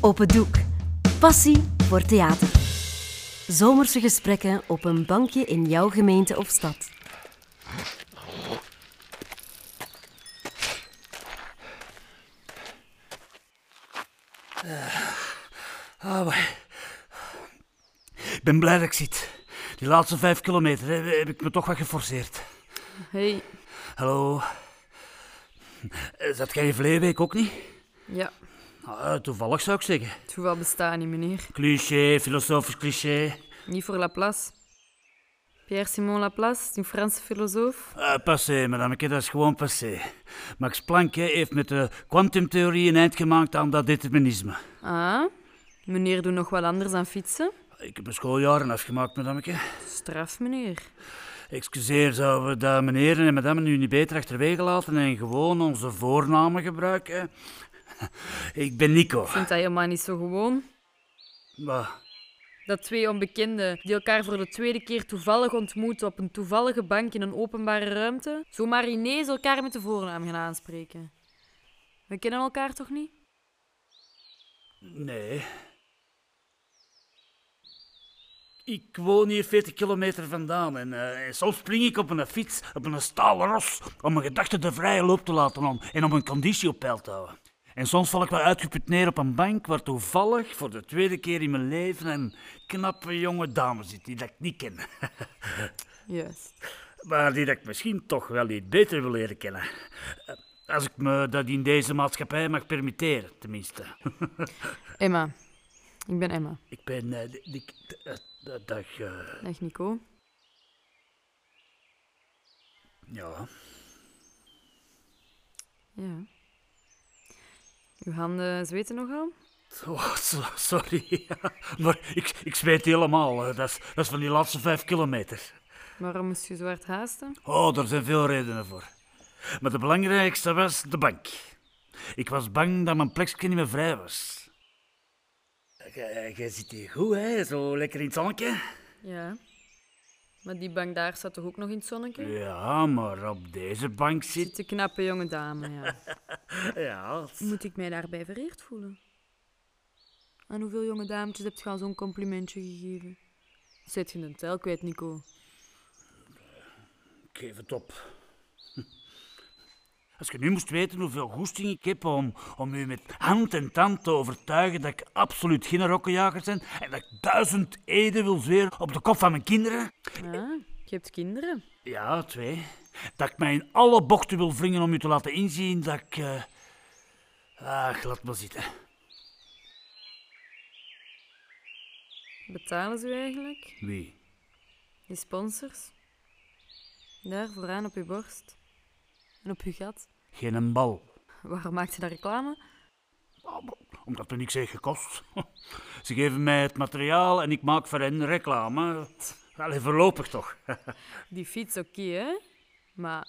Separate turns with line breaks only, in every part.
Op het doek. Passie voor theater. Zomerse gesprekken op een bankje in jouw gemeente of stad.
Ah, maar- Ik ben blij dat ik zit. Die laatste vijf kilometer hè, heb ik me toch wat geforceerd.
Hey,
Hallo. Eh, Zat jij in Vleeweek ook niet?
ja,
Ah, toevallig zou ik zeggen.
toeval bestaat niet, meneer.
Cliché, filosofisch cliché.
Niet voor Laplace. Pierre-Simon Laplace, een Franse filosoof.
Eh, passé, madameke, dat is gewoon passé. Max Planck hè, heeft met de kwantumtheorie een eind gemaakt aan dat determinisme.
Ah, meneer doet nog wat anders dan fietsen.
Ik heb mijn schooljaren afgemaakt, madameke.
Straf, meneer.
Excuseer, zouden we dat meneer en madame nu niet beter achterwege laten en gewoon onze voornamen gebruiken? Ik ben Nico.
Vindt dat helemaal niet zo gewoon?
Maar,
Dat twee onbekenden die elkaar voor de tweede keer toevallig ontmoeten op een toevallige bank in een openbare ruimte, zomaar ineens elkaar met de voornaam gaan aanspreken. We kennen elkaar toch niet?
nee. Ik woon hier 40 kilometer vandaan en, eh, en soms spring ik op een fiets, op een stalen ros, om mijn gedachten de vrije loop te laten om, en om mijn conditie op peil te houden. En soms val ik wel uitgeput neer op een bank waar toevallig voor de tweede keer in mijn leven een knappe jonge dame zit die dat ik niet ken.
Juist.
maar die dat ik misschien toch wel iets beter wil leren kennen. Eh, Als ik me dat in deze maatschappij mag permitteren, tenminste.
Emma. Ik ben Emma.
Ik ben... eh, d- ik, d- eh, d- dag... eh,
Dag Nico.
ja.
Ja. Uw handen zweten nogal?
Oh, so- sorry. maar ik, ik zweet helemaal. eh, Dat is, dat is van die laatste vijf kilometer.
Waarom moest je zo hard haasten?
Oh, daar zijn veel redenen voor. Maar de belangrijkste was de bank. Ik was bang dat mijn plekje niet meer vrij was. Jij eh, jij zit hier goed, hè? Zo lekker in het zonnetje.
Ja. Maar die bank daar staat toch ook nog in het zonnetje?
Ja, maar op deze bank zit...
Zit een knappe jonge dame, ja.
Ja,
Moet ik mij daarbij vereerd voelen? Aan hoeveel jonge dametjes heb je al zo'n complimentje gegeven? Zet je een tel kwijt, Nico?
ik geef het op. Als je nu moest weten hoeveel goesting ik heb om, om u met hand en tand te overtuigen dat ik absoluut geen rokkenjager ben en dat ik duizend eden wil zweren op de kop van mijn kinderen...
Ah, je hebt kinderen.
Ja, twee. Dat ik mij in alle bochten wil wringen om u te laten inzien dat ik... eh, Ach, laat maar zitten.
Betalen ze u eigenlijk?
Wie?
Die sponsors? Daar vooraan op je borst. En op je gat.
Geen een bal.
Waarom maakt je daar reclame?
Omdat het niks heeft gekost. Ze geven mij het materiaal en ik maak voor hen reclame. Allee, voorlopig toch.
Die fiets oké, hè? Maar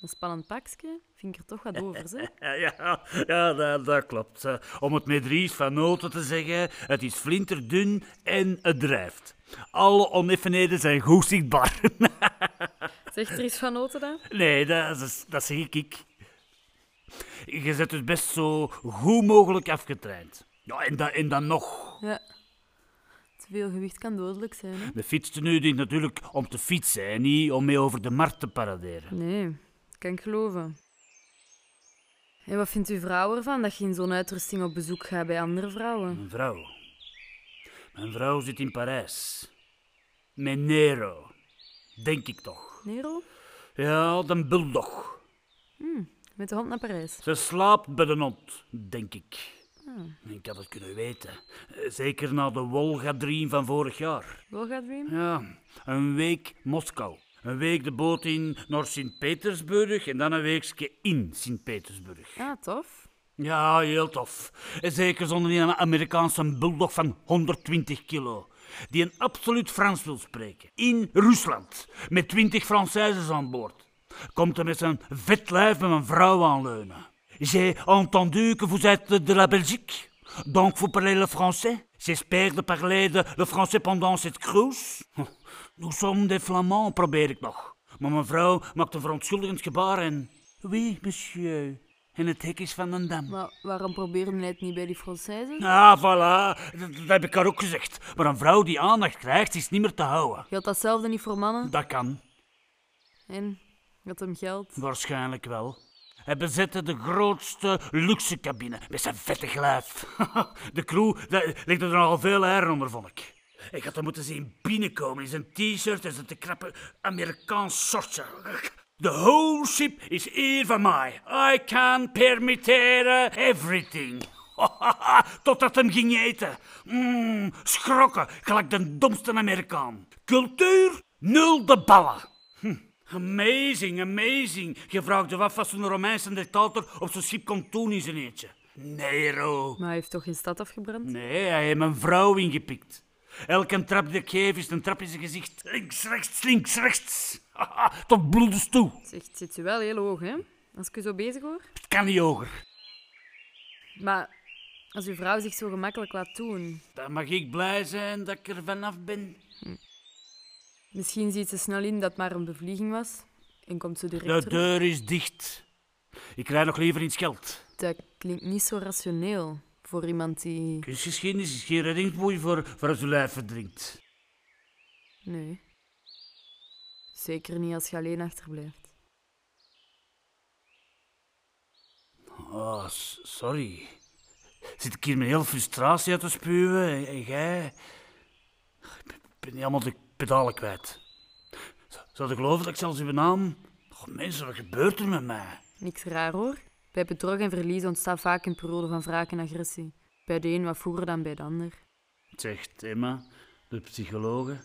een spannend pakje vind ik er toch wat over, hè?
Ja, ja dat, dat klopt. Eh, Om het met Ries van Noten te zeggen, het is flinterdun en het drijft. Alle oneffenheden zijn goed zichtbaar.
Zegt er iets van noten dan?
Nee, dat, is- dat zeg ik. ik. Je zet het best zo goed mogelijk afgetraind. Ja, en, da, en dan nog.
Ja. Te veel gewicht kan dodelijk zijn, hè?
De fietsen nu dient natuurlijk om te fietsen en niet om mee over de markt te paraderen.
Nee, kan ik geloven. En wat vindt uw vrouw ervan dat je in zo'n uitrusting op bezoek gaat bij andere vrouwen?
Mijn vrouw. Mijn vrouw zit in Parijs. Met Nero. Denk ik toch.
Nero?
Ja, de bulldog.
Met de hond naar Parijs.
Ze slaapt bij de hond, denk ik. Ik had het kunnen weten. Eh, Zeker na de Wolga-dream van vorig jaar.
Volga Dream?
Ja, een week Moskou. Een week de boot in naar Sint-Petersburg en dan een weekje in Sint-Petersburg.
Ah, tof.
Ja, heel tof. En Zeker zonder die Amerikaanse bulldog van 120 kilo. Die een absoluut Frans wil spreken. In Rusland. Met 20 Françaises aan boord. Komt er met zijn vet lijf met een vrouw aanleunen. J'ai entendu que vous êtes de la Belgique. Donc vous parlez le français. J'espère de parler de le français pendant cette cruise. Nous sommes des Flamands, probeer ik nog. Maar mevrouw maakt een verontschuldigend gebaar en... Oui, monsieur. En het hek is van een dam.
Maar waarom probeerde hij het niet bij die Française?
Ah, voilà. Dat, dat heb ik haar ook gezegd. Maar een vrouw die aandacht krijgt, is niet meer te houden.
Je had datzelfde niet voor mannen?
Dat kan.
En? Je had hem geld?
Waarschijnlijk wel. Hij bezette de grootste luxe cabine met zijn vette geluid. De crew daar ligt er nogal veel eieren onder, vond ik. Ik had hem moeten zien binnenkomen in zijn t-shirt en zijn te krappe Amerikaans shortje. The whole ship is here van mij. I can permitteren everything. Totdat hem ging eten. Mm, schrokken, gelijk de domste Amerikaan. Cultuur, nul de ballen. Hm. Amazing, amazing. Je vraagt je af wat zo'n Romeinse dictator op zijn schip kon doen in zijn eentje. Nero.
Maar hij heeft toch geen stad afgebrand?
Nee, hij heeft mijn vrouw ingepikt. Elke trap die ik geef is een trap in zijn gezicht. Links, rechts, links, rechts. Haha, Tot bloedens toe.
Zeg, het zit je wel heel hoog, hè? Als ik je zo bezig hoor.
Het kan niet hoger.
Maar als uw vrouw zich zo gemakkelijk laat doen,
Dan mag ik blij zijn dat ik er vanaf ben.
misschien ziet ze snel in dat het maar een bevlieging was en komt ze direct
De
terug.
deur is dicht. Ik rij nog liever in het geld.
Dat klinkt niet zo rationeel voor iemand die...
Kunstgeschiedenis is geen reddingsboei voor, voor als je lijf verdrinkt.
Nee. Zeker niet als je alleen achterblijft.
Oh, s- sorry. Zit ik hier met heel frustratie uit te spuwen en, en jij... Ik ben- ik ben helemaal de pedalen kwijt. Z- Zou ik geloven dat ik zelfs uw naam... Oh, mensen, wat gebeurt er met mij?
Niks raar hoor. Bij bedrog en verlies ontstaat vaak een periode van wraak en agressie. Bij de een wat vroeger dan bij de ander.
Zegt Emma, de psychologe.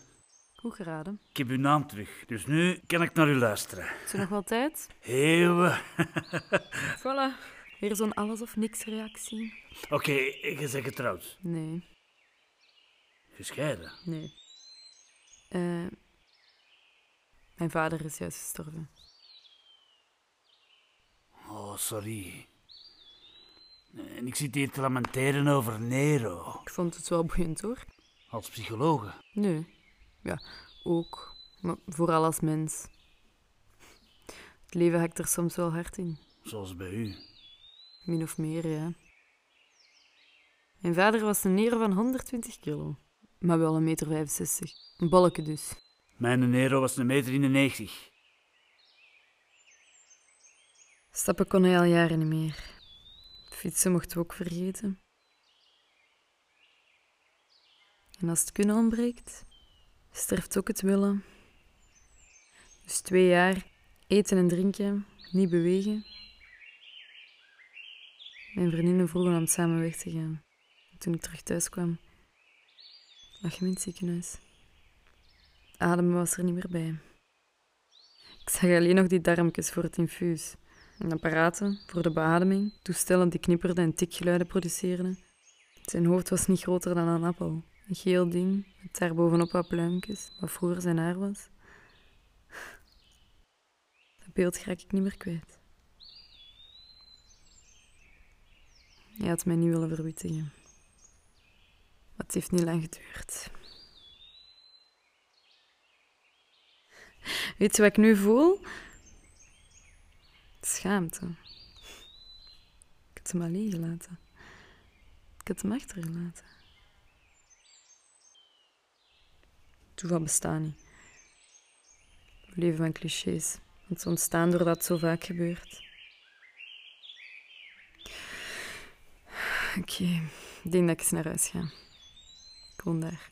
Goed geraden.
Ik heb uw naam terug, dus nu kan ik naar u luisteren.
Is er nog wel tijd?
Eeuwen.
Voilà. Weer zo'n alles of niks reactie?
Oké, je bent getrouwd.
Nee,
Gescheiden.
nee. Eh, mijn vader is juist gestorven.
Oh, sorry. En ik zit hier te lamenteren over Nero.
Ik vond het wel boeiend hoor.
Als psychologe.
Nee. Ja, ook. Maar vooral als mens. Het leven hakt er soms wel hard in.
Zoals bij u.
Min of meer, ja. Mijn vader was een neer van 120 kilo. Maar wel een meter 65. Een bolleke dus.
Mijn Nero was een meter in de 90.
Stappen kon hij al jaren niet meer. Fietsen mochten we ook vergeten. En als het kunnen ontbreekt, sterft ook het willen. Dus twee jaar eten en drinken, niet bewegen. Mijn vriendinnen vroegen om samen weg te gaan. Toen ik terug thuis kwam, lag hij in het ziekenhuis. Ademen was er niet meer bij. Ik zag alleen nog die darmpjes voor het infuus. En apparaten voor de beademing, toestellen die knipperden en tikgeluiden produceerden. Zijn hoofd was niet groter dan een appel. Een geel ding, met daarbovenop wat pluimpjes, wat vroeger zijn haar was. Dat beeld raak ik niet meer kwijt. Hij had mij niet willen verwittigen. Maar het heeft niet lang geduurd. Weet je wat ik nu voel? Schaamte. Ik had hem alleen gelaten. Ik had hem achtergelaten. Toeval bestaat niet. We leven van clichés. Want ze ontstaan doordat het zo vaak gebeurt. Oké, ik denk dat ik eens naar huis ga. Ik woon daar.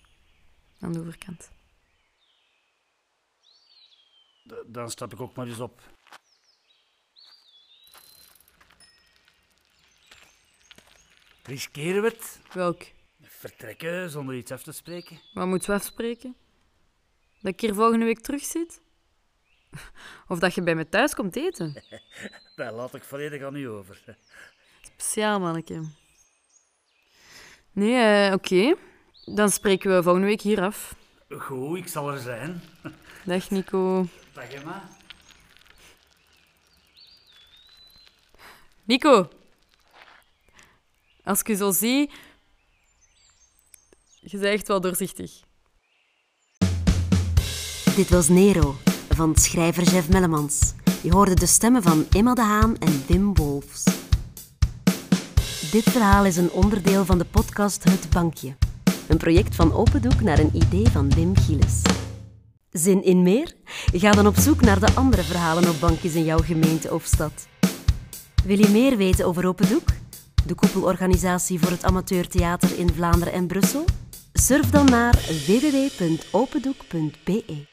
Aan de overkant.
D- dan stap ik ook maar eens op. Riskeren we het?
Welk?
Vertrekken zonder iets af te spreken?
Wat moeten we afspreken? Dat ik hier volgende week terug zit? Of dat je bij me thuis komt eten?
Daar laat ik volledig aan u over.
Speciaal, manneke. Nee, eh, oké. Dan spreken we volgende week hier af.
Goed, ik zal er zijn.
Dag, Nico.
Dag Emma.
Nico! Als ik je zo zie... Je bent echt wel doorzichtig.
Dit was Nero van schrijver Jeff Mellemans. Je hoorde de stemmen van Emma de Haan en Wim Wolfs. Dit verhaal is een onderdeel van de podcast Het Bankje. Een project van Opendoek naar een idee van Wim Gilles. Zin in meer? Ga dan op zoek naar de andere verhalen op bankjes in jouw gemeente of stad. Wil je meer weten over Opendoek? De koepelorganisatie voor het amateurtheater in Vlaanderen en Brussel? Surf dan naar www.opendoek.be.